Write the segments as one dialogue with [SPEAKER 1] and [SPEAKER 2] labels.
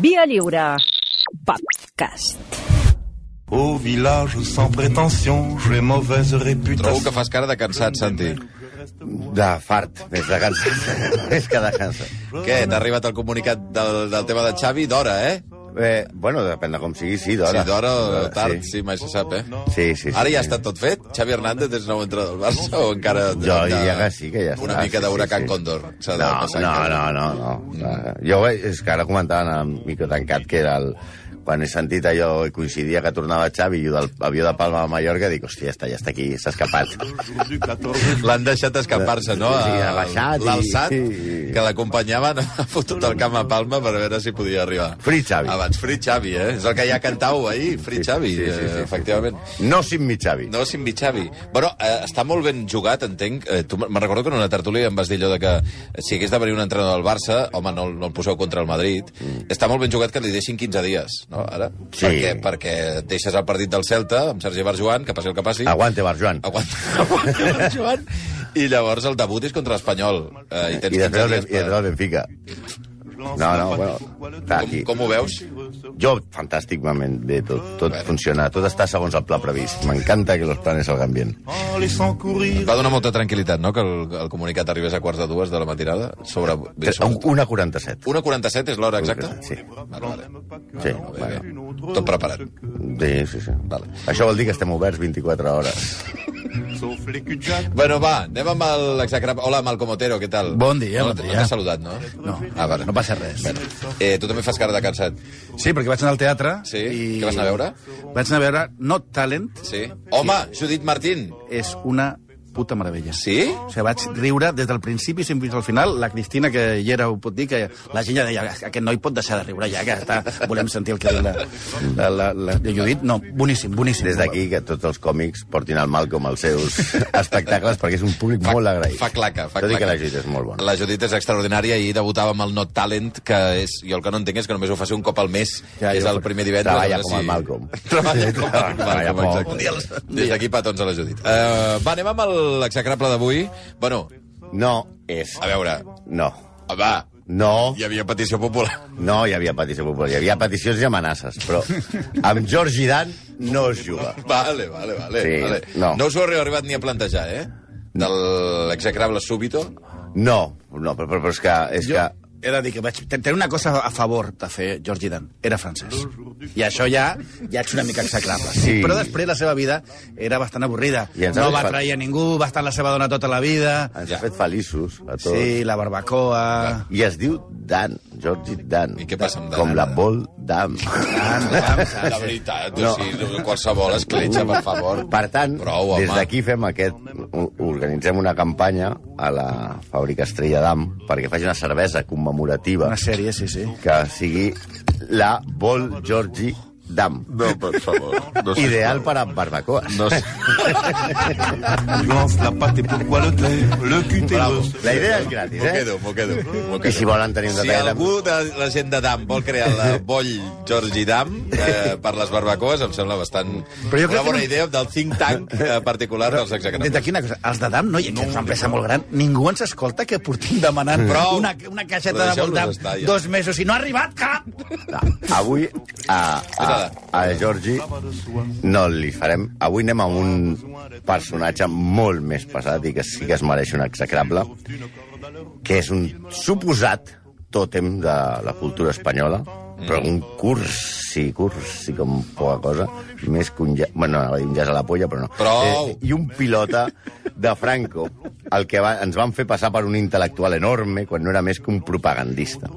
[SPEAKER 1] Via Lliure. Podcast.
[SPEAKER 2] Au village sans prétention, j'ai mauvaise
[SPEAKER 3] Trobo que
[SPEAKER 2] réputation.
[SPEAKER 3] fas cara de cansat, Santi.
[SPEAKER 4] De fart, més de cansat. més que de cansat.
[SPEAKER 3] Què, t'ha arribat el comunicat del, del tema de Xavi d'hora, eh?
[SPEAKER 4] Eh, bueno, depèn de com sigui, sí, d'hora.
[SPEAKER 3] Sí, d'hora o
[SPEAKER 4] Eh,
[SPEAKER 3] tard, sí, mai se sap, eh?
[SPEAKER 4] Sí, sí, sí.
[SPEAKER 3] Ara ja
[SPEAKER 4] sí.
[SPEAKER 3] està tot fet? Xavi Hernández és nou entrenador del Barça o encara...
[SPEAKER 4] Jo diria
[SPEAKER 3] de-
[SPEAKER 4] que sí, que ja està.
[SPEAKER 3] Una mica
[SPEAKER 4] sí,
[SPEAKER 3] d'huracan
[SPEAKER 4] sí, sí.
[SPEAKER 3] Condor. s'ha de
[SPEAKER 4] No,
[SPEAKER 3] passar
[SPEAKER 4] no,
[SPEAKER 3] encara.
[SPEAKER 4] no, no, no.
[SPEAKER 3] Mm.
[SPEAKER 4] Eh, Jo vaig- és que ara comentaven amb micro tancat que era el, quan he sentit allò i coincidia que tornava Xavi i el del avió de Palma a Mallorca, dic, hòstia, ja està, ja està aquí, s'ha escapat.
[SPEAKER 3] L'han deixat escapar-se, no?
[SPEAKER 4] Sí, ha baixat i-
[SPEAKER 3] L'alçat,
[SPEAKER 4] sí.
[SPEAKER 3] que l'acompanyaven, ha fotut el camp a Palma per veure si podia arribar.
[SPEAKER 4] Free Xavi.
[SPEAKER 3] Abans, Free Xavi, eh? És el que ja cantau ahir, Free
[SPEAKER 4] Sí,
[SPEAKER 3] Xavi,
[SPEAKER 4] sí, sí, sí,
[SPEAKER 3] eh,
[SPEAKER 4] sí.
[SPEAKER 3] efectivament.
[SPEAKER 4] No sin mi Xavi.
[SPEAKER 3] No, Simbi Xavi. Bueno, eh, està molt ben jugat, entenc. Eh, tu me'n recordo que en una tertúlia em vas dir allò de que eh, si hagués de venir un entrenador del Barça, home, no, el- no el poseu contra el Madrid. Mm. Està molt ben jugat que li deixin 15 dies, no, ara?
[SPEAKER 4] Sí.
[SPEAKER 3] Perquè, perquè deixes el partit del Celta amb Sergi Barjuan, que passi el que passi.
[SPEAKER 4] Aguante, Bar Joan.
[SPEAKER 3] Aguanta, aguanta Barjuan. I llavors el debut és contra l'Espanyol. Eh, I tens 15
[SPEAKER 4] I després, el,
[SPEAKER 3] dies
[SPEAKER 4] Ben- i després el Benfica. No, no, bueno, està
[SPEAKER 3] Com,
[SPEAKER 4] aquí.
[SPEAKER 3] com ho veus?
[SPEAKER 4] Jo, fantàsticament, bé, tot, tot funciona, tot està segons el pla previst. M'encanta que los planes salgan bien.
[SPEAKER 2] En laissant courir
[SPEAKER 3] Et va donar molta tranquil·litat, no?, que el, el comunicat arribés a quarts de dues de la matinada sobre...
[SPEAKER 4] Tre- un- Una 47.
[SPEAKER 3] 1.47 és l'hora exacta?
[SPEAKER 4] Sí.
[SPEAKER 3] Vale, vale. Bé,
[SPEAKER 4] Sí,
[SPEAKER 3] bé.
[SPEAKER 4] bueno.
[SPEAKER 3] Tot preparat.
[SPEAKER 4] Sí, sí, sí. Vale. Això vol dir que estem oberts 24 hores.
[SPEAKER 2] sauf les culs de jack.
[SPEAKER 3] Bueno, va, anem amb l'exacrable. Hola, Malcom Otero, què tal?
[SPEAKER 5] Bon dia,
[SPEAKER 3] no,
[SPEAKER 5] bon dia.
[SPEAKER 3] No t'has saludat, no?
[SPEAKER 5] No,
[SPEAKER 3] Ah, vale.
[SPEAKER 5] no passa res.
[SPEAKER 3] Bueno, eh, tu també fas cara de cansat.
[SPEAKER 5] Sí, perquè vaig anar al teatre.
[SPEAKER 3] Sí? Què vas anar a veure?
[SPEAKER 5] Vaig anar a veure No Talent.
[SPEAKER 3] Sí? Home, Judit Martín!
[SPEAKER 5] És una puta meravella.
[SPEAKER 3] Sí?
[SPEAKER 5] O sigui, vaig riure des del principi sempre fins al final. La Cristina, que hi era, ho pot dir, que la gent ja deia aquest noi pot deixar de riure ja, que està, volem sentir el que diu la, la, la, la, la Judit. No, boníssim, boníssim.
[SPEAKER 4] Des d'aquí que tots els còmics portin al mal com els seus espectacles perquè és un públic molt agraït.
[SPEAKER 3] Fa claca, fa
[SPEAKER 4] Tot i
[SPEAKER 3] claca.
[SPEAKER 4] que la Judit és molt bona.
[SPEAKER 3] La Judit és extraordinària i debutava amb el Not Talent, que és, jo el que no entenc és que només ho faci un cop al mes,
[SPEAKER 5] Ja,
[SPEAKER 3] ja, és
[SPEAKER 5] jo
[SPEAKER 3] el
[SPEAKER 5] faig-
[SPEAKER 3] primer divendres.
[SPEAKER 4] Treballa
[SPEAKER 3] a veure
[SPEAKER 4] com el Malcolm.
[SPEAKER 3] Treballa com el
[SPEAKER 4] Treballa
[SPEAKER 3] Malcolm,
[SPEAKER 4] poc.
[SPEAKER 3] exacte.
[SPEAKER 4] Un dia a la setmana.
[SPEAKER 3] Des d'aquí petons a la Judit. Uh, va, anem amb el- l'exacrable d'avui. Bueno,
[SPEAKER 4] No és.
[SPEAKER 3] a veure, Ah,
[SPEAKER 4] No.
[SPEAKER 3] va,
[SPEAKER 4] No.
[SPEAKER 3] hi havia petició popular.
[SPEAKER 4] No hi havia petició popular. Hi havia peticions i amenaces, però amb Georgi Dan no es juga.
[SPEAKER 3] Vale, vale, vale.
[SPEAKER 4] Sí,
[SPEAKER 3] vale.
[SPEAKER 4] no.
[SPEAKER 3] no us ho heu arribat ni a plantejar, eh? De l'execrable súbito.
[SPEAKER 4] No, no, però, però, però és que... És
[SPEAKER 5] Jo
[SPEAKER 4] que
[SPEAKER 5] he de dir que vaig tenir una cosa a favor de fer George Dan. Era francès. I això ja ja ets una mica execrable.
[SPEAKER 4] Sí.
[SPEAKER 5] Però després la seva vida era bastant avorrida.
[SPEAKER 4] I ens
[SPEAKER 5] No
[SPEAKER 4] ha
[SPEAKER 5] va
[SPEAKER 4] fet-
[SPEAKER 5] trair a ningú, va estar la seva dona tota la vida.
[SPEAKER 4] ens
[SPEAKER 3] Ja.
[SPEAKER 4] ha fet feliços a tots.
[SPEAKER 5] Sí, la barbacoa...
[SPEAKER 4] I es diu Dan, Georgi Dan.
[SPEAKER 3] I què passa amb Dan,
[SPEAKER 4] Com la
[SPEAKER 3] ara?
[SPEAKER 4] Vol Dam.
[SPEAKER 3] La veritat, no. o sigui, qualsevol escletxa, per favor.
[SPEAKER 4] Per tant,
[SPEAKER 3] Prou, home.
[SPEAKER 4] des d'aquí fem aquest... o- Organitzem una campanya a la fàbrica Estrella Dam perquè faci una cervesa commemorativa
[SPEAKER 5] Una sèrie, sí, sí.
[SPEAKER 4] que sigui la Vol Georgi Dam.
[SPEAKER 6] No, per favor. No sé.
[SPEAKER 4] Ideal per a barbacoas.
[SPEAKER 6] No sé.
[SPEAKER 2] Tu lances la patte et pourquoi le taire Le cul t'est
[SPEAKER 3] Bravo.
[SPEAKER 2] grosse.
[SPEAKER 4] La idea és gratis,
[SPEAKER 3] M'ho
[SPEAKER 4] eh?
[SPEAKER 3] quedo, m'ho quedo. m'ho
[SPEAKER 4] I
[SPEAKER 3] quedo.
[SPEAKER 4] si volen tenir un
[SPEAKER 3] Si
[SPEAKER 4] detall...
[SPEAKER 3] algú de la gent de Dam vol crear la Boll Georgi Dam eh, per les barbacoes, em sembla bastant
[SPEAKER 5] Però jo crec
[SPEAKER 3] una
[SPEAKER 5] que
[SPEAKER 3] bona
[SPEAKER 5] no-
[SPEAKER 3] idea del think tank eh, particular dels
[SPEAKER 5] Des
[SPEAKER 3] execrables.
[SPEAKER 5] d'aquí una cosa, els de DAM, no, i que és una empresa molt gran, ningú ens escolta que portem demanant
[SPEAKER 3] Prou.
[SPEAKER 5] una, una
[SPEAKER 3] Però
[SPEAKER 5] caixeta de
[SPEAKER 3] deixeu-los
[SPEAKER 5] molt DAM
[SPEAKER 3] estar, ja.
[SPEAKER 5] dos mesos i no ha arribat cap!
[SPEAKER 4] No, avui a, a, a Georgi no li farem... Avui anem a un personatge molt més pesat i que sí que es mereix un execrable, que és un suposat tòtem de la cultura espanyola, però un cursi, cursi com poca cosa, més que un ja... Bueno, anava a dir un jas a la polla, però no. Eh,
[SPEAKER 3] Prou!
[SPEAKER 4] i un pilota de Franco, el que va, ens van fer passar per un intel·lectual enorme quan no era més que un propagandista.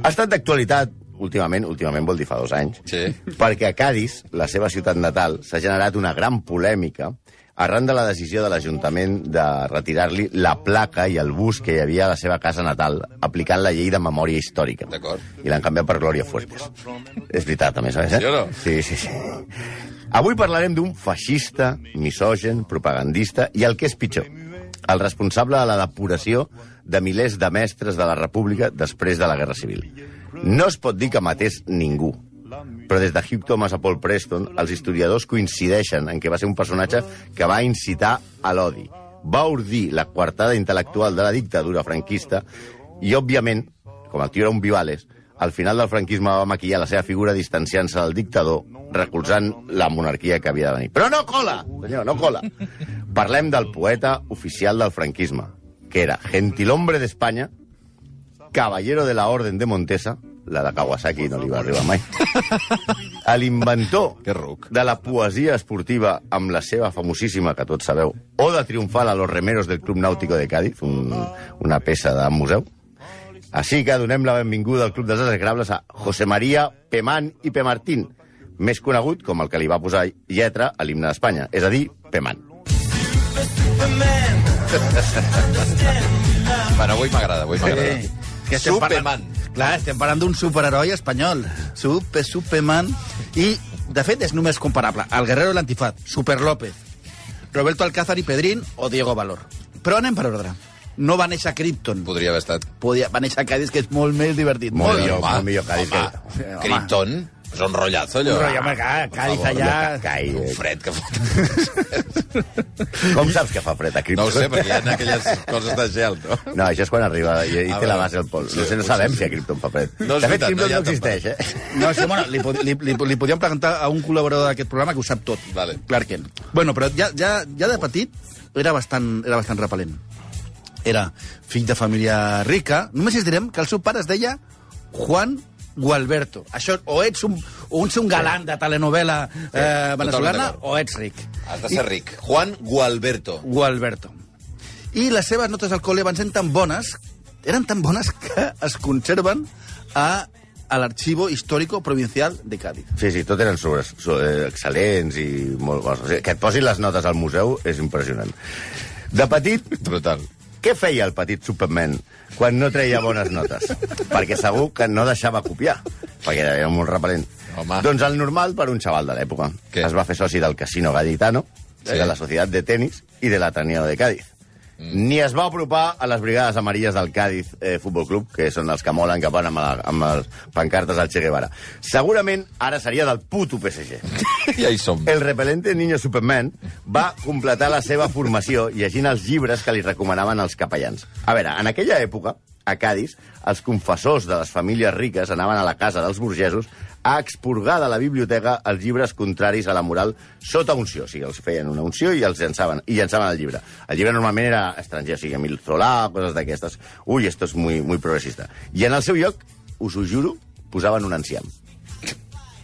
[SPEAKER 4] Ha estat d'actualitat últimament, últimament vol dir fa dos anys,
[SPEAKER 3] Sí.
[SPEAKER 4] perquè a Cádiz, la seva ciutat natal, s'ha generat una gran polèmica arran de la decisió de l'Ajuntament de retirar-li la placa i el bus que hi havia a la seva casa natal, aplicant la llei de memòria històrica.
[SPEAKER 3] D'acord.
[SPEAKER 4] I l'han canviat per Glòria Fuertes. És veritat, a més a més. Eh?
[SPEAKER 3] Sí o no?
[SPEAKER 4] Sí, sí, sí. Avui parlarem d'un feixista, misògen, propagandista i el que és pitjor, el responsable de la depuració de milers de mestres de la República després de la Guerra Civil. No es pot dir que matés ningú, però des de Hugh Thomas a Paul Preston, els historiadors coincideixen en que va ser un personatge que va incitar a l'odi. Va ordir la coartada intel·lectual de la dictadura franquista i, òbviament, com el tio era un Vivales, al final del franquisme va maquillar la seva figura distanciant-se del dictador, recolzant la monarquia que havia de venir. Però no cola, senyor, no cola. Parlem del poeta oficial del franquisme, que era gentilhombre d'Espanya, caballero de la Orden de Montesa, la de Kawasaki no li va arribar mai, a l'inventor
[SPEAKER 3] Que ruc.
[SPEAKER 4] de la poesia esportiva amb la seva famosíssima, que tots sabeu, Oda Triunfal a los remeros del Club Nàutico de Cádiz, un, una peça de museu. Així que donem la benvinguda al Club dels Desescrables a José María Pemán i Pemartín, més conegut com el que li va posar lletra a l'himne d'Espanya, és a dir, Pemán.
[SPEAKER 3] Bueno, avui m'agrada, avui m'agrada.
[SPEAKER 5] Sí.
[SPEAKER 3] Que estem Superman.
[SPEAKER 5] Parlant, clar, estem parlant d'un superheroi espanyol. Super, Superman. I, de fet, és només comparable al Guerrero de l'Antifat, Super López, Roberto Alcázar i Pedrín o Diego Valor. Però anem per ordre. No va néixer a Krypton.
[SPEAKER 3] Podria haver estat...
[SPEAKER 5] Podia, va néixer a Cádiz, que és molt més divertit.
[SPEAKER 4] Molt
[SPEAKER 5] molt
[SPEAKER 4] millor,
[SPEAKER 5] divertit.
[SPEAKER 4] molt millor Cádiz
[SPEAKER 3] home,
[SPEAKER 4] que-
[SPEAKER 3] home. Krypton, és un rotllazo, allò.
[SPEAKER 5] Un rotllo, home, clar, Cádiz allà...
[SPEAKER 4] Cai,
[SPEAKER 3] Un
[SPEAKER 4] eh?
[SPEAKER 3] fred que fot.
[SPEAKER 4] Com saps que fa fred a Cripto?
[SPEAKER 3] No ho sé, perquè hi ha aquelles coses de gel, no?
[SPEAKER 4] No, això és quan arriba i, i
[SPEAKER 3] Ah,
[SPEAKER 4] té
[SPEAKER 3] bueno.
[SPEAKER 4] la base al pol.
[SPEAKER 3] Sí,
[SPEAKER 4] No, sé, no
[SPEAKER 3] potser
[SPEAKER 4] sabem
[SPEAKER 3] sí.
[SPEAKER 4] si a Krypton fa fred.
[SPEAKER 3] No és
[SPEAKER 4] de fet,
[SPEAKER 3] veritat, no
[SPEAKER 4] Krypton
[SPEAKER 3] hi ha
[SPEAKER 4] no, existeix, eh?
[SPEAKER 5] No, sí, bueno, li, pod- li, li, li podíem preguntar a un col·laborador d'aquest programa que ho sap tot.
[SPEAKER 3] Vale.
[SPEAKER 5] Clark Kent. Bueno, però ja, ja, ja de petit era bastant, era bastant repel·lent. Era fill de família rica. Només us direm que el seu pare es deia Juan Gualberto. Això, o ets un, o ets un galant de telenovela eh, veneçolana
[SPEAKER 3] d'acord.
[SPEAKER 5] o ets ric.
[SPEAKER 3] Has de ser ric. Juan Gualberto.
[SPEAKER 5] Gualberto. I les seves notes al col·le van ser tan bones, eren tan bones que es conserven a, a l'Arxivo Histórico Provincial de Cádiz.
[SPEAKER 4] Sí, sí, tot eren sobres, so, eh, excel·lents i molt bons. O sigui, que et posin les notes al museu és impressionant. De petit,
[SPEAKER 3] Brutal.
[SPEAKER 4] què feia el petit Superman quan no treia bones notes? perquè segur que no deixava copiar, perquè era molt repel·lent.
[SPEAKER 3] Home.
[SPEAKER 4] Doncs el normal per un xaval de l'època.
[SPEAKER 3] Què?
[SPEAKER 4] Es va fer soci del Casino Gaditano,
[SPEAKER 3] Sí.
[SPEAKER 4] de la Societat de Tenis i de l'Ateneo de Cádiz.
[SPEAKER 3] Mm.
[SPEAKER 4] Ni es va apropar a les brigades amarilles del Cádiz eh, Futbol Club, que són els que molen que van amb, la, amb les pancartes al Che Guevara. Segurament ara seria del puto PSG.
[SPEAKER 3] Ja hi som.
[SPEAKER 4] El repel·lente Niño Superman va completar la seva formació llegint els llibres que li recomanaven els capellans. A veure, en aquella època, a Cádiz, els confessors de les famílies riques anaven a la casa dels burgesos a expurgar de la biblioteca els llibres contraris a la moral sota unció. O sigui, els feien una unció i els llançaven, i llançaven el llibre. El llibre normalment era estranger, o sigui, Emil Solà, coses d'aquestes. Ui, esto és muy, muy progressista. I en el seu lloc, us ho juro, posaven un enciam.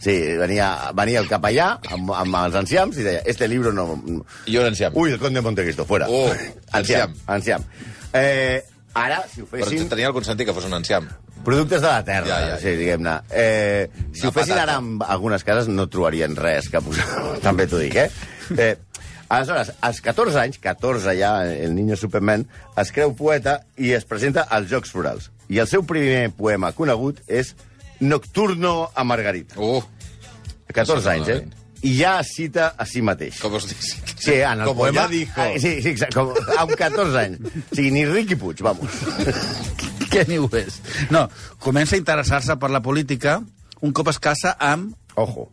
[SPEAKER 4] Sí, venia, venia el capellà amb, amb els enciams i deia, este libro no...
[SPEAKER 3] I on ens hi
[SPEAKER 4] Ui, el conde de Montecristo, fuera.
[SPEAKER 3] Oh,
[SPEAKER 4] enciam,
[SPEAKER 3] enciam.
[SPEAKER 4] enciam. Eh, ara, si ho
[SPEAKER 3] Però
[SPEAKER 4] fessin...
[SPEAKER 3] tenia el consentí que fos un enciam.
[SPEAKER 4] Productes de la terra, ja,
[SPEAKER 3] Ja,
[SPEAKER 4] ja.
[SPEAKER 3] ja.
[SPEAKER 4] sí, diguem-ne. Eh, si
[SPEAKER 3] Una
[SPEAKER 4] ho fessin
[SPEAKER 3] patata.
[SPEAKER 4] ara en algunes cases no trobarien res que posar. També t'ho dic, eh? eh Aleshores, als 14 anys, 14 ja, el niño Superman, es creu poeta i es presenta als Jocs Florals. I el seu primer poema conegut és Nocturno a Margarita.
[SPEAKER 3] Uh,
[SPEAKER 4] 14 anys, eh? I ja es cita a si mateix.
[SPEAKER 3] com us dic?
[SPEAKER 4] Sí, eh, en el
[SPEAKER 3] Como
[SPEAKER 4] poema...
[SPEAKER 3] ya dijo.
[SPEAKER 4] Ah, sí, sí, exacte, com, amb 14 anys. O sigui, ni Riqui Puig, vamos.
[SPEAKER 5] Què ni ho és? No, comença a interessar-se per la política un cop es casa amb
[SPEAKER 4] Ojo.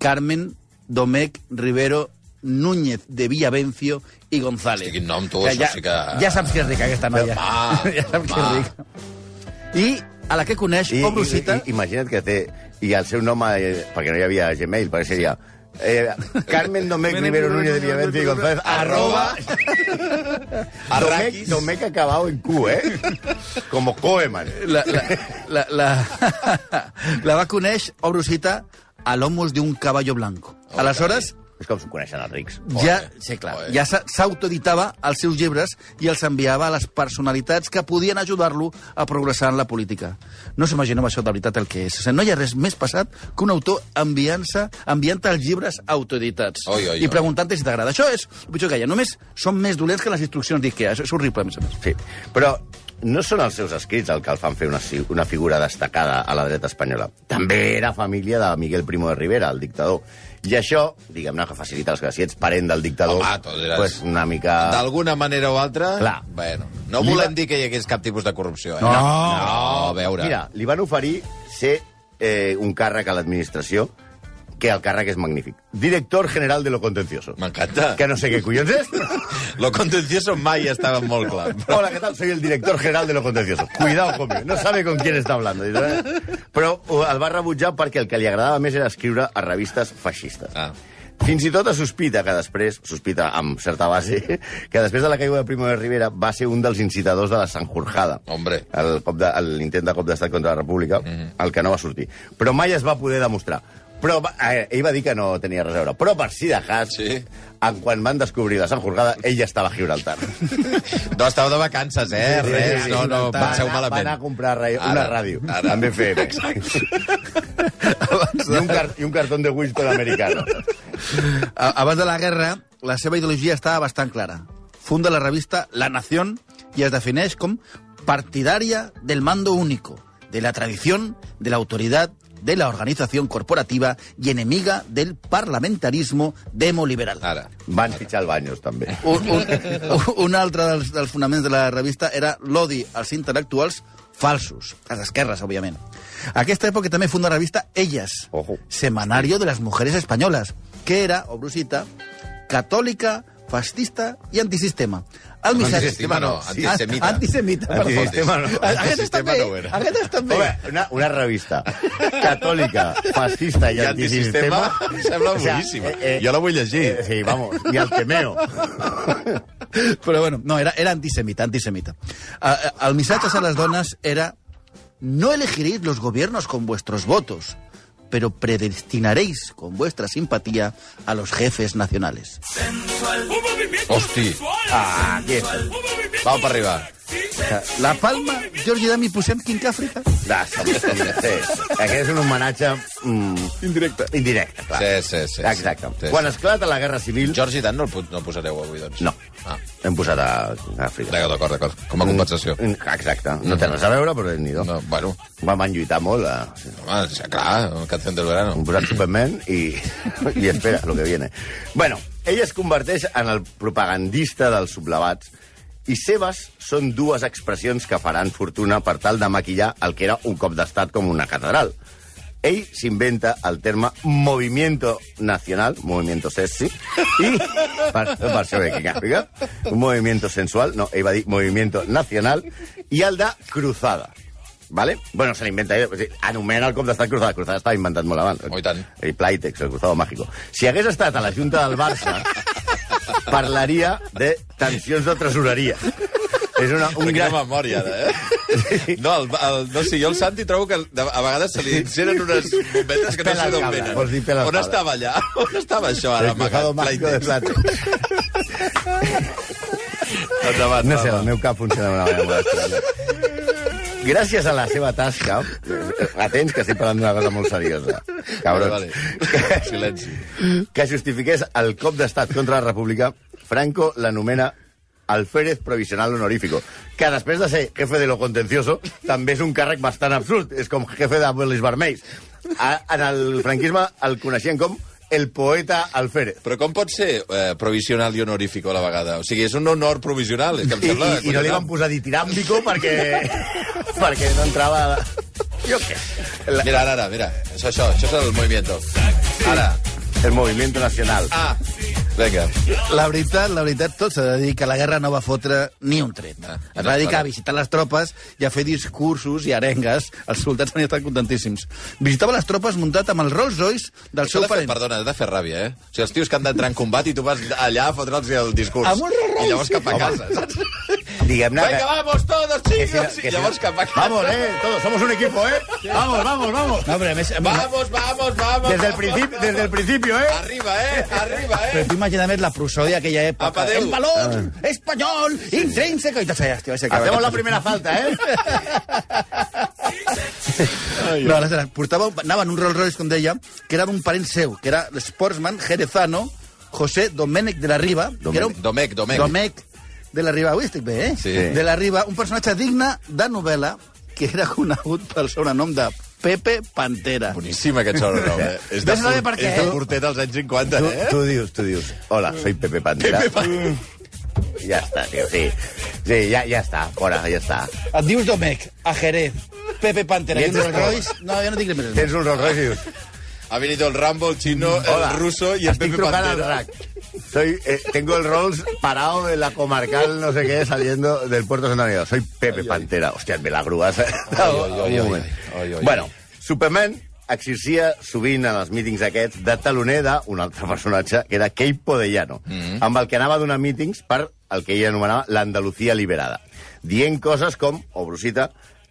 [SPEAKER 5] Carmen Domecq Rivero Núñez de Villavencio i González.
[SPEAKER 3] Hosti, quin nom, tu,
[SPEAKER 5] Que
[SPEAKER 3] això sí que-
[SPEAKER 5] Ja saps que és rica, aquesta noia.
[SPEAKER 3] Home,
[SPEAKER 5] ja saps que és
[SPEAKER 3] home.
[SPEAKER 5] rica. I a la que coneix,
[SPEAKER 4] I,
[SPEAKER 5] I, obre
[SPEAKER 4] i,
[SPEAKER 5] cita...
[SPEAKER 4] i, imagina't que té... I el seu nom, eh, perquè no hi havia Gmail, perquè seria... Eh, Carmen Domecq Rivero Núñez de Villavencio y González arroba Domecq,
[SPEAKER 3] Arraquis.
[SPEAKER 4] Domecq acabado en Q, eh? Como Coeman.
[SPEAKER 5] la, la, la, la, la va conèixer, obro cita, a l'homus d'un caballo blanco. Aleshores,
[SPEAKER 4] És com s'ho coneixen els rics.
[SPEAKER 5] ja,
[SPEAKER 3] Joder,
[SPEAKER 5] sí, clar,
[SPEAKER 3] joder.
[SPEAKER 5] ja s'ha- s'autoeditava els seus llibres i els enviava a les personalitats que podien ajudar-lo a progressar en la política. No s'imaginem això de veritat el que és. O sigui, no hi ha res més passat que un autor enviant-se enviant els llibres autoeditats
[SPEAKER 3] Oi, oi,
[SPEAKER 5] i
[SPEAKER 3] oi.
[SPEAKER 5] preguntant-te si t'agrada. Això és el pitjor que hi ha. Només són més dolents que les instruccions d'IKEA. Això és horrible, a més a més.
[SPEAKER 4] Sí, però no són els seus escrits el que el fan fer una, ci- una figura destacada a la dreta espanyola. També era família de Miguel Primo de Rivera, el dictador. I això, diguem-ne, que facilita els que si ets parent del dictador,
[SPEAKER 3] Home, tot era-
[SPEAKER 4] pues una mica...
[SPEAKER 3] D'alguna manera o altra...
[SPEAKER 4] Clar.
[SPEAKER 3] Bueno, no
[SPEAKER 4] Li va-
[SPEAKER 3] volem dir que hi hagués cap tipus de corrupció, eh?
[SPEAKER 4] No.
[SPEAKER 3] No, a veure.
[SPEAKER 4] Mira, li van oferir ser eh, un càrrec a l'administració que el càrrec és magnífic. Director general de lo contencioso.
[SPEAKER 3] M'encanta.
[SPEAKER 4] Que no sé què collons és.
[SPEAKER 3] Lo contencioso mai estava molt clar.
[SPEAKER 4] Hola, ¿qué tal? Soy el director general de lo contencioso. Cuidado conmigo. No sabe con quién está hablando. Dice, "Eh". Però eh, el va rebutjar perquè el que li agradava més era escriure a revistes feixistes.
[SPEAKER 3] Ah.
[SPEAKER 4] Fins i tot es sospita que després, sospita amb certa base, que després de la caiguda de Primo de Rivera va ser un dels incitadors de la Sanjurjada.
[SPEAKER 3] Hombre. Mhm.
[SPEAKER 4] El cop de- el- L'intent de cop d'estat contra la República, mm -hmm. el que no va sortir. Però mai es va poder demostrar. Però va, eh, ell va dir que no tenia res a veure. Però per si de cas,
[SPEAKER 3] Sí.
[SPEAKER 4] en quan van descobrir la Sanjurjada, ell ja estava a Gibraltar.
[SPEAKER 3] No, estàveu de vacances, eh? Res, no, no,
[SPEAKER 4] Va
[SPEAKER 3] penseu
[SPEAKER 4] anar-
[SPEAKER 3] malament.
[SPEAKER 4] Va anar a comprar ra una
[SPEAKER 3] Ara,
[SPEAKER 4] ràdio,
[SPEAKER 3] ara.
[SPEAKER 4] amb FM. I un, car I un cartó de Winston americano.
[SPEAKER 5] A- Abans de la guerra, la seva ideologia estava bastant clara. Funda la revista La Nación i es defineix com partidària del mando único, de la tradición, de la autoridad, de la organización corporativa y enemiga del parlamentarismo demoliberal.
[SPEAKER 3] Ara.
[SPEAKER 4] Van fitxar el Baños, també.
[SPEAKER 5] Un, un, un altre dels, dels fonaments de la revista era l'odi als intel·lectuals falsos, a les esquerres, òbviament. A aquesta època també funda la revista Elles,
[SPEAKER 4] Ojo.
[SPEAKER 5] Semanario de las Mujeres Españolas, que era, obrusita, católica, fascista i antisistema. El
[SPEAKER 3] No,
[SPEAKER 5] missatge...
[SPEAKER 3] antisistema no, antisemita.
[SPEAKER 5] An- Antisemita, perdó.
[SPEAKER 4] Antisistema no.
[SPEAKER 5] Aquest està
[SPEAKER 3] Antisistema
[SPEAKER 5] bé.
[SPEAKER 3] no era.
[SPEAKER 5] Aquest està bé.
[SPEAKER 4] Home, una, una revista catòlica, fascista i,
[SPEAKER 3] I
[SPEAKER 4] antisistema...
[SPEAKER 3] antisistema sembla boníssima. Jo la vull llegir.
[SPEAKER 4] Eh, sí, vamos, i el temeo.
[SPEAKER 5] Però bueno, no, era, era antisemita, antisemita. Ah, ah, El missatge a les dones era no elegiréis los gobiernos con vuestros votos, pero predestinaréis con vuestra simpatía a los jefes nacionales.
[SPEAKER 3] Hosti,
[SPEAKER 4] Ah, aquí està.
[SPEAKER 3] va per arribar.
[SPEAKER 5] La Palma, Jordi Dami, posem King África.
[SPEAKER 4] Ah, sí, sí. Aquest és un homenatge... Mm, indirecte. Indirecte, clar.
[SPEAKER 3] Sí, sí, sí. sí.
[SPEAKER 4] Exacte.
[SPEAKER 3] Sí, sí.
[SPEAKER 4] Quan esclata la Guerra Civil...
[SPEAKER 3] Jordi Dan no el, pu- no el posareu avui, doncs?
[SPEAKER 4] No.
[SPEAKER 3] Ah.
[SPEAKER 4] Hem posat a a Àfrica.
[SPEAKER 3] D'acord, d'acord, d'acord. Com a compensació.
[SPEAKER 4] Mm, Exacte. No té res a veure, però ni do.
[SPEAKER 3] No, bueno,
[SPEAKER 4] Vam lluitar molt. A...
[SPEAKER 3] home, sí, clar, Canción del Verano.
[SPEAKER 4] Han posat Superman i, i espera lo que viene. Bueno, ell es converteix en el propagandista dels sublevats i seves són dues expressions que faran fortuna per tal de maquillar el que era un cop d'estat com una catedral. Ell s'inventa el terme movimiento nacional, movimiento sexy, i per, per això ve que càpiga, un movimiento sensual, no, ell va dir movimiento nacional, i el de cruzada. ¿Vale? Bueno, se l'inventa ell, o sigui, anomena pues el cop d'estat cruzada. Cruzada estava inventat molt abans.
[SPEAKER 3] Oh, i tant.
[SPEAKER 4] El Playtex, el cruzado mágico. Si hagués estat a la Junta del Barça, parlaria de tensions de tresoreria. És una, un
[SPEAKER 3] Quina
[SPEAKER 4] gran...
[SPEAKER 3] memòria, ara, eh? No, el, el, no sé, jo el Santi trobo que de- a vegades se li inseren unes bombetes que no
[SPEAKER 4] Pela
[SPEAKER 3] sé
[SPEAKER 4] el
[SPEAKER 3] d'on
[SPEAKER 4] cable,
[SPEAKER 3] venen.
[SPEAKER 4] vols dir pela el
[SPEAKER 3] On
[SPEAKER 4] cable.
[SPEAKER 3] estava allà? On estava això, ara,
[SPEAKER 4] El cruzado
[SPEAKER 3] amagat?
[SPEAKER 4] mágico de
[SPEAKER 3] Playtex.
[SPEAKER 4] Playtex.
[SPEAKER 3] Endavant,
[SPEAKER 4] No
[SPEAKER 3] va,
[SPEAKER 4] sé, el
[SPEAKER 3] va.
[SPEAKER 4] meu cap funciona d'una manera molt estranya. Gràcies a la seva tasca... Atents, que estic parlant d'una cosa molt seriosa. Cabrons.
[SPEAKER 3] Vale, vale. Silenci.
[SPEAKER 4] que justifiqués el cop d'estat contra la República, Franco l'anomena alférez provisional honorífico, que després de ser jefe de lo contencioso també és un càrrec bastant absurd. És com jefe de Bolis Vermells. A, en el franquisme el coneixien com el poeta alférez.
[SPEAKER 3] Però com pot ser eh, provisional i honorífico a la vegada? O sigui, és un honor provisional, és que em
[SPEAKER 4] I, i,
[SPEAKER 3] sembla...
[SPEAKER 4] I no li van posar ditiràmbico perquè, perquè no entrava... a la- Jo què?
[SPEAKER 3] La... Mira, ara, ara, mira. Això, això, això és el movimiento. Ara.
[SPEAKER 4] El moviment nacional.
[SPEAKER 3] Ah. Vinga.
[SPEAKER 5] La veritat, la veritat, tot s'ha de dir que la guerra no va fotre ni un tret.
[SPEAKER 3] Ah,
[SPEAKER 5] Es va
[SPEAKER 3] clar.
[SPEAKER 5] dedicar a visitar les tropes i a fer discursos i arengues. Els soldats han estat contentíssims. Visitava les tropes muntat amb el Rolls Royce del
[SPEAKER 3] Això
[SPEAKER 5] seu
[SPEAKER 3] de fer,
[SPEAKER 5] parent.
[SPEAKER 3] perdona, ha de fer ràbia, eh? O sigui, els tios que han d'entrar en combat i tu vas allà a fotre'ls el discurs.
[SPEAKER 5] Amb un rei.
[SPEAKER 3] I llavors cap a casa, saps?
[SPEAKER 4] Diguem-ne
[SPEAKER 3] Venga, vamos todos, chicos! I llavors cap a casa.
[SPEAKER 4] Vamos, eh? Todos somos un equipo, eh? Vamos, vamos, vamos.
[SPEAKER 5] No, però a més...
[SPEAKER 3] Vamos, vamos, vamos.
[SPEAKER 4] Desde el,
[SPEAKER 3] vamos,
[SPEAKER 4] principi,
[SPEAKER 3] vamos.
[SPEAKER 4] desde el principio, ¿eh?
[SPEAKER 3] Arriba, eh? Arriba,
[SPEAKER 5] Però
[SPEAKER 3] eh?
[SPEAKER 5] tu imagina més la prosòdia d'aquella època.
[SPEAKER 3] Apa, adéu.
[SPEAKER 5] el valor espanyol, intrínseco... I tot allà, hòstia, va ser que...
[SPEAKER 4] Ah. Hacemos la primera falta, ¿eh? eh?
[SPEAKER 5] No, aleshores, portava, un- anava en un Rolls Royce, com deia, que era d'un parent seu, que era l'esportsman jerezano José Domènec de la Riba. que era un...
[SPEAKER 3] Domènec, Domènec.
[SPEAKER 5] Domènec de la Riba. Avui estic bé, eh?
[SPEAKER 3] Sí.
[SPEAKER 5] De la Riba, un personatge digne de novel·la que era conegut pel sobrenom de Pepe Pantera.
[SPEAKER 3] Boníssim aquest sobrenom, eh? És de,
[SPEAKER 5] Ves a saber per què,
[SPEAKER 3] és de
[SPEAKER 5] eh?
[SPEAKER 3] portet als anys 50, eh?
[SPEAKER 4] Tú dius, tú dius. Hola, soy Pepe Pantera. Pepe Ya está, tío, sí. Sí, ya, ya está, ahora, ya está.
[SPEAKER 5] Et dius Domènec, a Jerez, Pepe Pantera,
[SPEAKER 4] I
[SPEAKER 5] i un
[SPEAKER 4] ets
[SPEAKER 5] Rolls Royce... No, jo no dic res més.
[SPEAKER 4] Tens un Rolls Royce i dius...
[SPEAKER 3] Ha venido el Rambo, el chino,
[SPEAKER 4] Hola,
[SPEAKER 3] el ruso y el
[SPEAKER 4] estic
[SPEAKER 3] Pepe
[SPEAKER 4] trucant al
[SPEAKER 3] Pantera.
[SPEAKER 4] RAC. Soy, eh, tengo el Rolls parado de la comarcal, no sé qué, saliendo del puerto de Santa María. Soy Pepe Pantera. Hòstia, me la grúa.
[SPEAKER 3] ai, ai,
[SPEAKER 4] moment.
[SPEAKER 3] ai, ai.
[SPEAKER 4] Bueno, Superman exercia sovint en els mítings aquests de taloner d'un altre personatge, que era Kei Podellano, amb el que anava a donar mítings per el que ell anomenava l'Andalucía liberada, dient coses com, obro cita,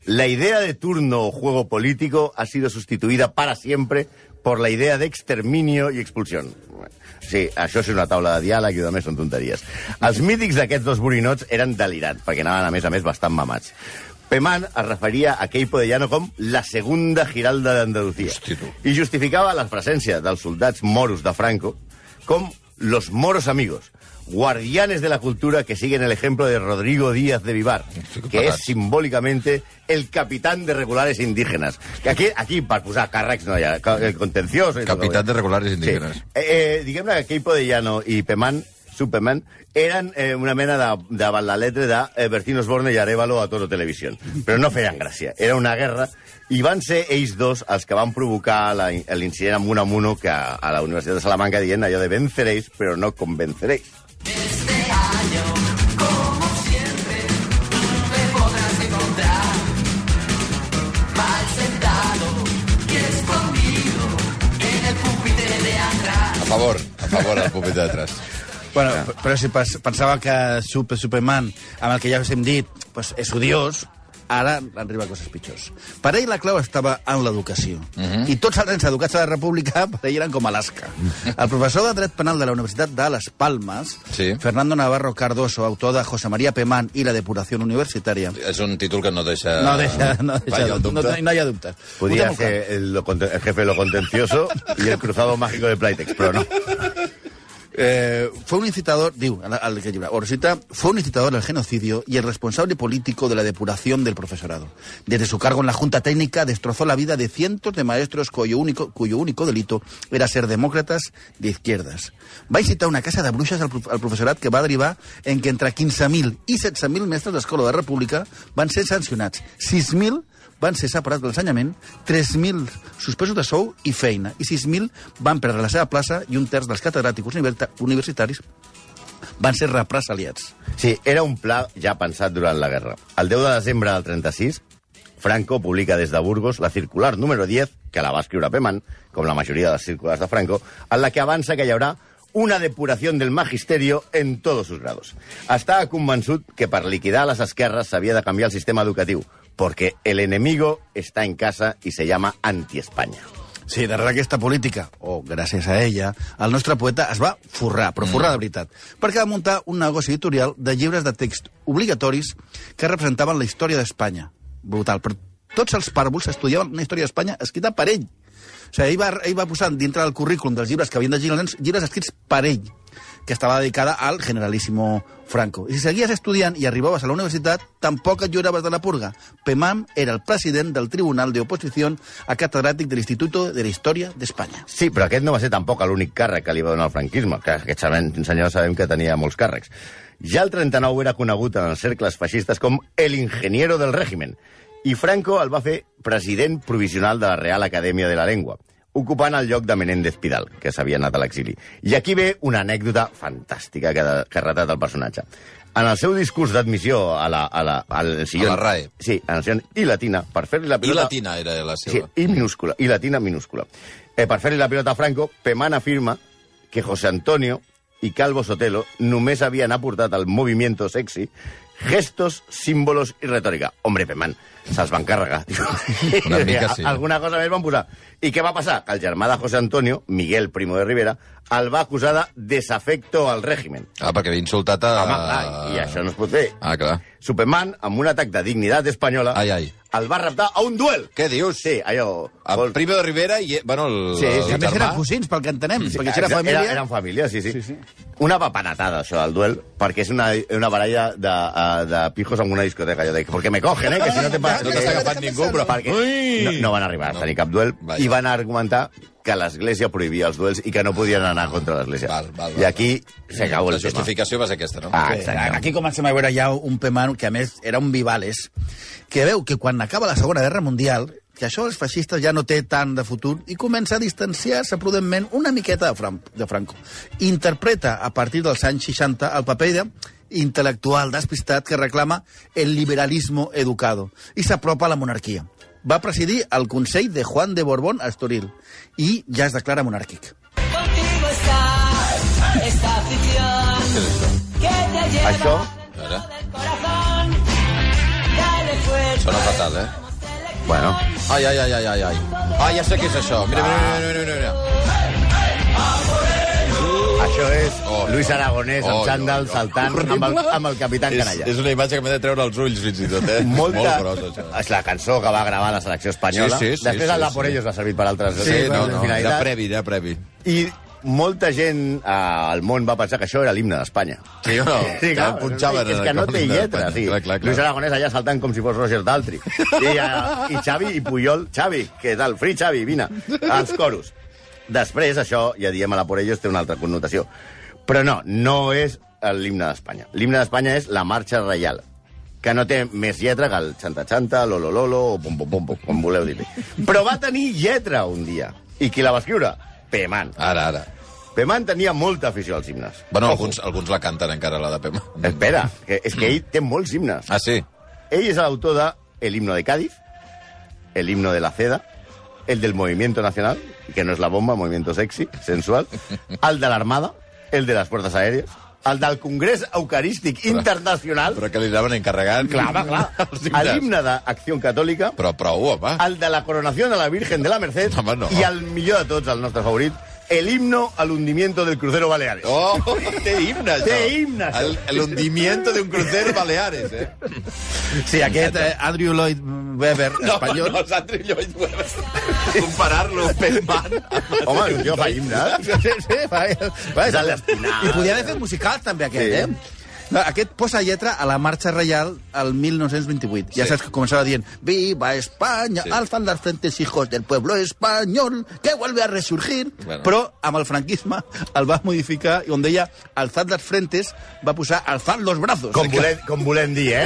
[SPEAKER 4] la idea de turno o juego político ha sido sustituida para siempre por la idea de exterminio y expulsión. Sí, això és una taula de diàleg i també són tonteries. Els mítics d'aquests dos borinots eren delirants, perquè anaven, a més a més, bastant mamats. Peman es referia a Keipo de Llano com la segunda giralda d'Andalucía
[SPEAKER 3] Hosti, tu.
[SPEAKER 4] i justificava la presència dels soldats moros de Franco com los moros amigos, guardianes de la cultura que siguen el ejemplo de Rodrigo Díaz de Vivar,
[SPEAKER 3] Sí, que
[SPEAKER 4] que és
[SPEAKER 3] pagats.
[SPEAKER 4] simbólicamente el capitán de regulares indígenas. Que aquí, aquí per posar càrrecs no hi ha ca- el contencioso... i tot el
[SPEAKER 3] Capitán de
[SPEAKER 4] que vulguis.
[SPEAKER 3] regulares indígenes.
[SPEAKER 4] Sí. Eh, eh, Diguem-ne que Keipo de Llano i Peman Superman eren eh, una mena de, de balaletre de eh, Bertín Osborne i Arevalo a Toro Televisión. Però no feien gràcia. Era una guerra i van ser ells dos els que van provocar la- l'incident amb un amuno que a, a la Universitat de Salamanca dient allò de venceréis, però no convenceréis.
[SPEAKER 3] A favor, a favor, el pupit de detrás.
[SPEAKER 5] Bueno, p- però si pas- pensava que Super Superman, amb el que ja us hem dit, pues, és odiós, ara arriba a coses pitjors. Per ell la clau estava en l'educació.
[SPEAKER 3] Mhm.
[SPEAKER 5] I tots els nens educats a la República per ell eren com Alaska. El professor de dret penal de la Universitat de Les Palmes,
[SPEAKER 3] Sí.
[SPEAKER 5] Fernando Navarro Cardoso, autor de José María Pemán i la depuración universitària,
[SPEAKER 3] És un títol que no deixa...
[SPEAKER 5] no deixa, no,
[SPEAKER 3] Vaja,
[SPEAKER 5] deixa,
[SPEAKER 3] el
[SPEAKER 5] no,
[SPEAKER 3] Eh, dubte.
[SPEAKER 5] no, no hi ha dubtes. Ho té
[SPEAKER 4] Podía
[SPEAKER 5] molt clar.
[SPEAKER 4] ser el, lo conte- el jefe de lo contencioso y el cruzado mágico de Playtex, però no.
[SPEAKER 5] Eh, fue un incitador, digo, al, al que lleva, Orsita, fue un incitador al genocidio y el responsable político de la depuración del profesorado. Desde su cargo en la Junta Técnica destrozó la vida de cientos de maestros cuyo único, cuyo único delito era ser demócratas de izquierdas. Va a incitar una casa de bruixes al, prof- al professorat que va derivar en que entre 15.000 i 16.000 mestres d'escola de la república van ser sancionats. 6.000 van ser separats de l'ensenyament, 3.000 suspesos de sou i feina, i 6.000 van perdre la seva plaça i un terç dels catedràtics universita- universitaris van ser represaliats.
[SPEAKER 4] Sí, era un pla ja pensat durant la guerra. El 10 de desembre del 36, Franco publica des de Burgos la circular número 10, que la va escriure Peman, com la majoria de les circulars de Franco, en la que avança que hi haurà una depuració del magisterio en tots sus grados. Estava convençut que per liquidar les esquerres s'havia de canviar el sistema educatiu, perquè el enemigo está en casa i se llama anti-España.
[SPEAKER 5] Sí, darrere aquesta política, o oh, gràcies a ella, el nostre poeta es va forrar, però forrar de veritat, perquè va muntar un negoci editorial de llibres de text obligatoris que representaven la història d'Espanya. Brutal, però tots els pàrvols estudiaven una història d'Espanya escrita per ell. O sigui, ell va, ell va posant dintre del currículum dels llibres que havien de llegir els nens, llibres escrits per ell, que estava dedicada al generalíssimo Franco. I si seguies estudiant i arribaves a la universitat, tampoc et lloraves de la purga. Pemam era el president del Tribunal de Oposició a catedràtic de l'Instituto de la Història d'Espanya.
[SPEAKER 4] Sí, però aquest no va ser tampoc l'únic càrrec que li va donar el franquisme, que aquest sabem, senyor sabem que tenia molts càrrecs. Ja el 39 era conegut en els cercles feixistes com el ingeniero del régimen, i Franco el va fer president provisional de la Real Acadèmia de la Lengua, ocupant el lloc de Menéndez Pidal, que s'havia anat a l'exili. I aquí ve una anècdota fantàstica que, que retrata el personatge. En el seu discurs d'admissió a la... A la, al sillón-
[SPEAKER 3] A la RAE.
[SPEAKER 4] Sí, en el sillón i latina, per fer-li la
[SPEAKER 3] I
[SPEAKER 4] pilota...
[SPEAKER 3] latina era la
[SPEAKER 4] Sí,
[SPEAKER 3] seva.
[SPEAKER 4] i minúscula, i latina minúscula. Eh, per fer-li la pilota a Franco, Pemán afirma que José Antonio i Calvo Sotelo només havien aportat al moviment sexy gestos, símbolos i retòrica. Hombre, Pemán, se'ls van carregar. tio.
[SPEAKER 3] Una mica sí.
[SPEAKER 4] Alguna cosa més van posar. I què va passar? Que el germà de José Antonio, Miguel Primo de Rivera, el va acusar de desafecto al régimen.
[SPEAKER 3] Ah, perquè havia insultat a...
[SPEAKER 4] Home, clar, i això no es pot fer.
[SPEAKER 3] Ah, clar.
[SPEAKER 4] Superman, amb un atac de dignitat espanyola,
[SPEAKER 3] Ai, ai.
[SPEAKER 4] el va raptar a un duel.
[SPEAKER 3] Què dius?
[SPEAKER 4] Sí, allò...
[SPEAKER 3] El
[SPEAKER 4] vol-
[SPEAKER 3] Primo de Rivera i... eh, Bueno, el,
[SPEAKER 4] Sí,
[SPEAKER 3] el
[SPEAKER 4] sí,
[SPEAKER 5] I a més
[SPEAKER 3] germà.
[SPEAKER 5] eren cosins, pel que entenem, sí, perquè si era
[SPEAKER 4] Exacte,
[SPEAKER 5] família...
[SPEAKER 4] ah, Era, eren família, sí, sí. sí, sí. Una papanatada, això, del duel, perquè és una, una baralla de, eh, de pijos en una discoteca. Jo dic, perquè me cogen, eh, que si no te pas...
[SPEAKER 3] No t'has agafat ningú, però...
[SPEAKER 4] Perquè no, no van arribar a tenir cap duel
[SPEAKER 3] Vaja.
[SPEAKER 4] i van argumentar que l'Església prohibia els duels i que no podien anar contra l'Església.
[SPEAKER 3] Val, val, val.
[SPEAKER 4] I aquí s'acabó
[SPEAKER 3] La
[SPEAKER 4] el tema.
[SPEAKER 3] justificació va ser aquesta, no?
[SPEAKER 4] Ah,
[SPEAKER 5] Eh,
[SPEAKER 4] exacte.
[SPEAKER 5] Aquí comencem a veure ja un Peman, que a més era un Vivales, que veu que quan acaba la Segona Guerra Mundial, que això els feixistes ja no té tant de futur i comença a distanciar-se prudentment una miqueta de, Fran de Franco. Interpreta a partir dels anys 60 el paper de intel·lectual despistat que reclama el liberalismo educado i s'apropa a la monarquia. Va presidir el Consell de Juan de Borbón a Estoril i ja es declara monàrquic.
[SPEAKER 7] Contigo está esta afición que te lleva
[SPEAKER 4] Això,
[SPEAKER 3] Ara.
[SPEAKER 7] del corazón. Dale fuerza.
[SPEAKER 3] Sona fatal, eh?
[SPEAKER 4] bueno,
[SPEAKER 3] Ai, ai, ai, ai, ai, ai. Ah, ja sé què és això. Mira, mira, mira, mira, mira. mira.
[SPEAKER 4] això és
[SPEAKER 3] Oh, no.
[SPEAKER 4] Luis Aragonès
[SPEAKER 3] Oh,
[SPEAKER 4] amb
[SPEAKER 3] no,
[SPEAKER 4] sandal
[SPEAKER 3] no.
[SPEAKER 4] saltant amb el, amb el capitán
[SPEAKER 3] És,
[SPEAKER 4] Canalla.
[SPEAKER 3] és una imatge que m'he de treure els ulls, fins i tot, eh? Molt gros, això.
[SPEAKER 4] És la cançó que va gravar la selecció espanyola.
[SPEAKER 3] Sí, sí, sí,
[SPEAKER 4] Després
[SPEAKER 3] sí,
[SPEAKER 4] el
[SPEAKER 3] sí.
[SPEAKER 4] Vaporellos va servir per altres eh,
[SPEAKER 3] Sí, no, no, era
[SPEAKER 4] finalitats.
[SPEAKER 3] previ, era previ.
[SPEAKER 4] I molta gent eh, al món va pensar que això era l'himne d'Espanya.
[SPEAKER 3] Sí o no?
[SPEAKER 4] Sí, clar,
[SPEAKER 3] que punxaven
[SPEAKER 4] és
[SPEAKER 3] en
[SPEAKER 4] que
[SPEAKER 3] el
[SPEAKER 4] no
[SPEAKER 3] cor
[SPEAKER 4] té
[SPEAKER 3] de-
[SPEAKER 4] lletra. Sí.
[SPEAKER 3] Clar, clar,
[SPEAKER 4] Luis
[SPEAKER 3] clar.
[SPEAKER 4] Aragonès allà saltant com si fos Roger Daltri. I, uh, I Xavi i Puyol. Xavi, què tal? Fri, Xavi, vine. Als coros. Després, això, ja diem a la Porellos, té una altra connotació. Però no, no és l'himne d'Espanya. L'himne d'Espanya és la marxa reial, que no té més lletra que el xanta-xanta, lolo-lolo, o pom-pom-pom, com voleu dir-li. Però va tenir lletra un dia. I qui la va escriure? Peman.
[SPEAKER 3] Ara, ara.
[SPEAKER 4] Peman tenia molta afició als himnes.
[SPEAKER 3] Bueno,
[SPEAKER 4] Ojo. Eh.
[SPEAKER 3] alguns, alguns la canten encara, la de Pema.
[SPEAKER 4] Espera, que, és que ell té molts himnes.
[SPEAKER 3] Ah, sí?
[SPEAKER 4] Ell és l'autor de El himno de Cádiz, El himno de la Ceda, el del Movimiento Nacional, que no és la bomba, Movimiento Sexy, sensual, el de l'Armada, el de les Portes Aèries, el del Congrés Eucarístic Internacional,
[SPEAKER 3] Però que li anaven encarregant...
[SPEAKER 4] clar, va,
[SPEAKER 3] els
[SPEAKER 4] clar,
[SPEAKER 3] himnes.
[SPEAKER 4] l'himne d'Acció Catòlica,
[SPEAKER 3] Però prou, home.
[SPEAKER 4] el de la coronació de la Virgen de la Merced
[SPEAKER 3] Home, no.
[SPEAKER 4] i el millor de tots, el nostre favorit, el himno al hundimiento del crucero Baleares.
[SPEAKER 3] Oh, té himne, això.
[SPEAKER 4] Té himne, això.
[SPEAKER 3] El, el hundimiento de un crucero Baleares, eh?
[SPEAKER 5] Sí, aquest eh, Andrew Lloyd Webber, espanyol,
[SPEAKER 3] no, Sandri Lloyd Webber. Comparar-lo amb Penman.
[SPEAKER 4] Home, el tio fa himnes.
[SPEAKER 5] Sí, sí, sí, va, va,
[SPEAKER 4] És al·lecinant.
[SPEAKER 5] I podia haver fet musical, també, aquest,
[SPEAKER 4] Sí.
[SPEAKER 5] sí. eh? No, aquest posa lletra a la marxa reial al 1928. Ja
[SPEAKER 3] Sí.
[SPEAKER 5] saps que començaba dient Viva España,
[SPEAKER 3] Sí.
[SPEAKER 5] sí. alzan las frentes hijos del pueblo español que vuelve a resurgir.
[SPEAKER 3] Bueno.
[SPEAKER 5] Bueno. Però amb el franquisme el va modificar i on deia alzad las frentes va posar alzad los brazos.
[SPEAKER 4] Com volem, com volem dir, eh?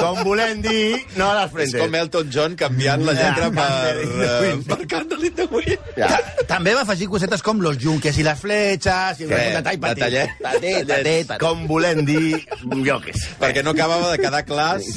[SPEAKER 4] Com volem dir, no a les
[SPEAKER 3] És
[SPEAKER 4] frentes.
[SPEAKER 3] com Elton John canviant la lletra per, eh, per Candle in the Wind.
[SPEAKER 4] Ja.
[SPEAKER 5] També va afegir cosetes com los yunques i les flechas...
[SPEAKER 3] Què?
[SPEAKER 5] I i patit,
[SPEAKER 3] Detallet.
[SPEAKER 5] patit, patit, patit.
[SPEAKER 4] Com volem dir, jo què sé.
[SPEAKER 3] Perquè no acabava de quedar clar si,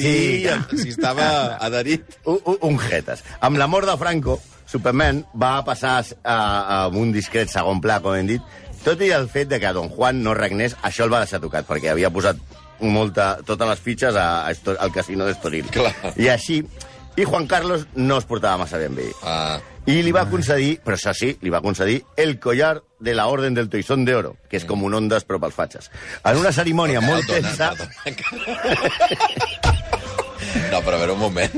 [SPEAKER 4] Sí.
[SPEAKER 3] si estava adherit.
[SPEAKER 4] Un, un, un jetes. Amb la mort de Franco, Superman va passar a, a un discret segon pla, com hem dit, tot i el fet de que Don Juan no regnés, això el va deixar tocat, perquè havia posat molta, totes les fitxes a, a Esto- al casino d'Estoril.
[SPEAKER 3] Clar.
[SPEAKER 4] I així... I Juan Carlos no es portava massa ben bé.
[SPEAKER 3] Ah,
[SPEAKER 4] I li va concedir, però això sí, li va concedir el collar de la Orden del Toisón de Oro, que és com un ondes però pels fatxes. En una cerimònia molt
[SPEAKER 3] perdona,
[SPEAKER 4] tensa...
[SPEAKER 3] perdona. No, però a veure, un moment.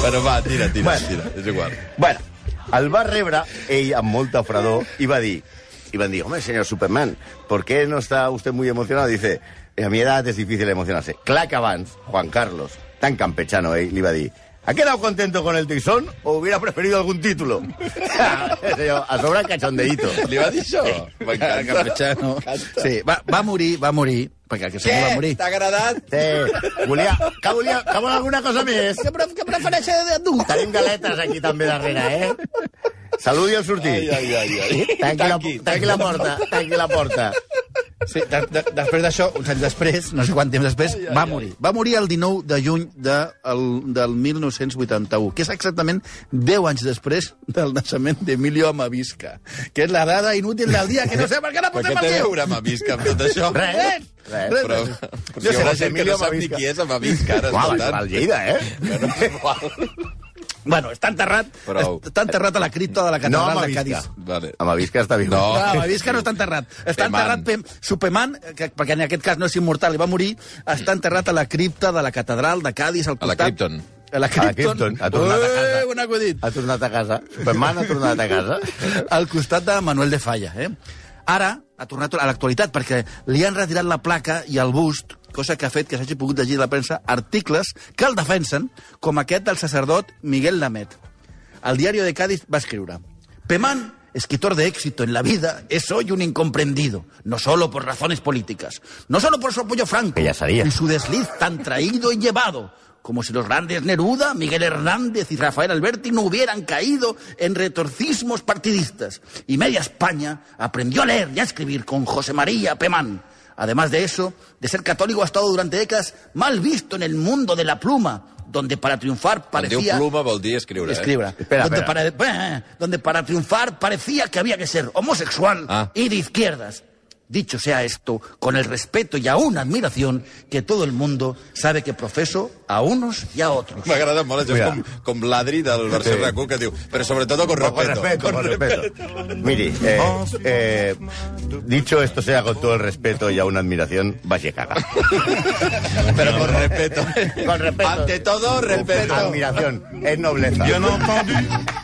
[SPEAKER 3] Bueno, va, tira, tira,
[SPEAKER 4] Bueno.
[SPEAKER 3] tira. És igual.
[SPEAKER 4] Bueno, el va rebre ell amb molta fredor i va dir... I van dir, home, senyor Superman, ¿por qué no está usted muy emocionado? Dice, a mi edad es difícil emocionarse. Clar que abans, Juan Carlos, tan campechano ell, li va dir... ¿Ha quedado contento con el Toisón o hubiera preferido algún título? Senyor, a sobre el cachondeíto.
[SPEAKER 3] Li va dir això? M'encanta.
[SPEAKER 5] Campechano. Sí, va, va morir, va morir, perquè el que segur va morir.
[SPEAKER 3] T'ha agradat?
[SPEAKER 4] Sí, volia... Que volia... Que vol alguna cosa més?
[SPEAKER 5] Que, pref que prefereixes de tu?
[SPEAKER 4] Tenim galetes aquí també darrere, eh? Saludi al sortir.
[SPEAKER 3] Ai, ai, ai, ai.
[SPEAKER 4] Tanqui, la,
[SPEAKER 3] Tanqui,
[SPEAKER 4] tanqui la porta, tanqui la porta.
[SPEAKER 5] Sí, de, de, després d'això, uns anys després, no sé quant temps després, ai, ai, va morir. Va morir el 19 de juny de, el, del 1981, que és exactament 10 anys després del naixement d'Emilio Amavisca, que és la dada inútil del dia, que no sé per què la
[SPEAKER 3] Però
[SPEAKER 5] posem
[SPEAKER 3] què
[SPEAKER 5] al
[SPEAKER 3] té a
[SPEAKER 5] dia.
[SPEAKER 3] veure Mavisca amb tot això?
[SPEAKER 4] Res, res.
[SPEAKER 3] Però, però si hi haurà gent que no sap ni qui és a Mavisca, ara.
[SPEAKER 4] Uau,
[SPEAKER 3] per
[SPEAKER 4] la
[SPEAKER 3] tant.
[SPEAKER 4] al Lleida, eh?
[SPEAKER 3] Bueno, igual.
[SPEAKER 5] Bueno, està enterrat,
[SPEAKER 3] Prou.
[SPEAKER 5] està enterrat a la cripta de la
[SPEAKER 4] No,
[SPEAKER 5] catedral
[SPEAKER 4] amb
[SPEAKER 5] de
[SPEAKER 4] Avisca.
[SPEAKER 5] Cádiz.
[SPEAKER 3] Vale.
[SPEAKER 4] Amb Avisca està viu.
[SPEAKER 3] No.
[SPEAKER 5] No, Amavisca no està enterrat. Està
[SPEAKER 3] Superman.
[SPEAKER 5] enterrat per Superman, que, perquè en aquest cas no és immortal i va morir, està enterrat a la cripta de la catedral de Cádiz, al
[SPEAKER 3] A la
[SPEAKER 5] costat...
[SPEAKER 3] Krypton.
[SPEAKER 5] A la Krypton.
[SPEAKER 4] Krypton, ha tornat a casa.
[SPEAKER 5] Eh, bon acudit.
[SPEAKER 4] Ha tornat a casa. Superman ha tornat a casa.
[SPEAKER 5] Al costat de Manuel de Falla, eh? Ara ha tornat a l'actualitat, perquè li han retirat la placa i el bust, cosa que ha fet que s'hagi pogut llegir a la premsa articles que el defensen, com aquest del sacerdot Miguel Lamet. El diario de Cádiz va escriure Pemán, escritor de éxito en la vida, es hoy un incomprendido, no solo por razones políticas, no solo por su apoyo franco
[SPEAKER 4] Que ya sabía.
[SPEAKER 5] y su desliz tan traído y llevado, como si los grandes Neruda, Miguel Hernández y Rafael Alberti no hubieran caído en retorcismos partidistas. Y media España aprendió a leer y a escribir con José María Pemán. Además de eso, de ser católico ha estado durante décadas mal visto en el mundo de la pluma, donde para triunfar
[SPEAKER 3] Quan diu
[SPEAKER 5] parecía...
[SPEAKER 3] pluma vol dir escriure. eh?
[SPEAKER 5] Escribra.
[SPEAKER 4] Espera,
[SPEAKER 5] donde,
[SPEAKER 4] espera.
[SPEAKER 5] Para, eh, donde para triunfar parecía que había que ser homosexual
[SPEAKER 3] Ah.
[SPEAKER 5] y de izquierdas. Dicho sea esto, con el respeto y aún admiración que todo el mundo sabe que profeso a unos y a otros.
[SPEAKER 3] M'ha agradat molt això,
[SPEAKER 4] Mira.
[SPEAKER 3] com, com l'Adri del Barça
[SPEAKER 4] Sí.
[SPEAKER 3] Racó, que diu, però sobretot con
[SPEAKER 4] Con
[SPEAKER 3] respeto.
[SPEAKER 4] respeto, con respeto. Mire, eh, eh, dicho esto sea con todo el respeto y aún admiración, vaya caga.
[SPEAKER 3] Però con respeto.
[SPEAKER 4] Con respeto.
[SPEAKER 3] Ante todo, respeto.
[SPEAKER 4] Admiración, es nobleza.
[SPEAKER 2] Bien entendu,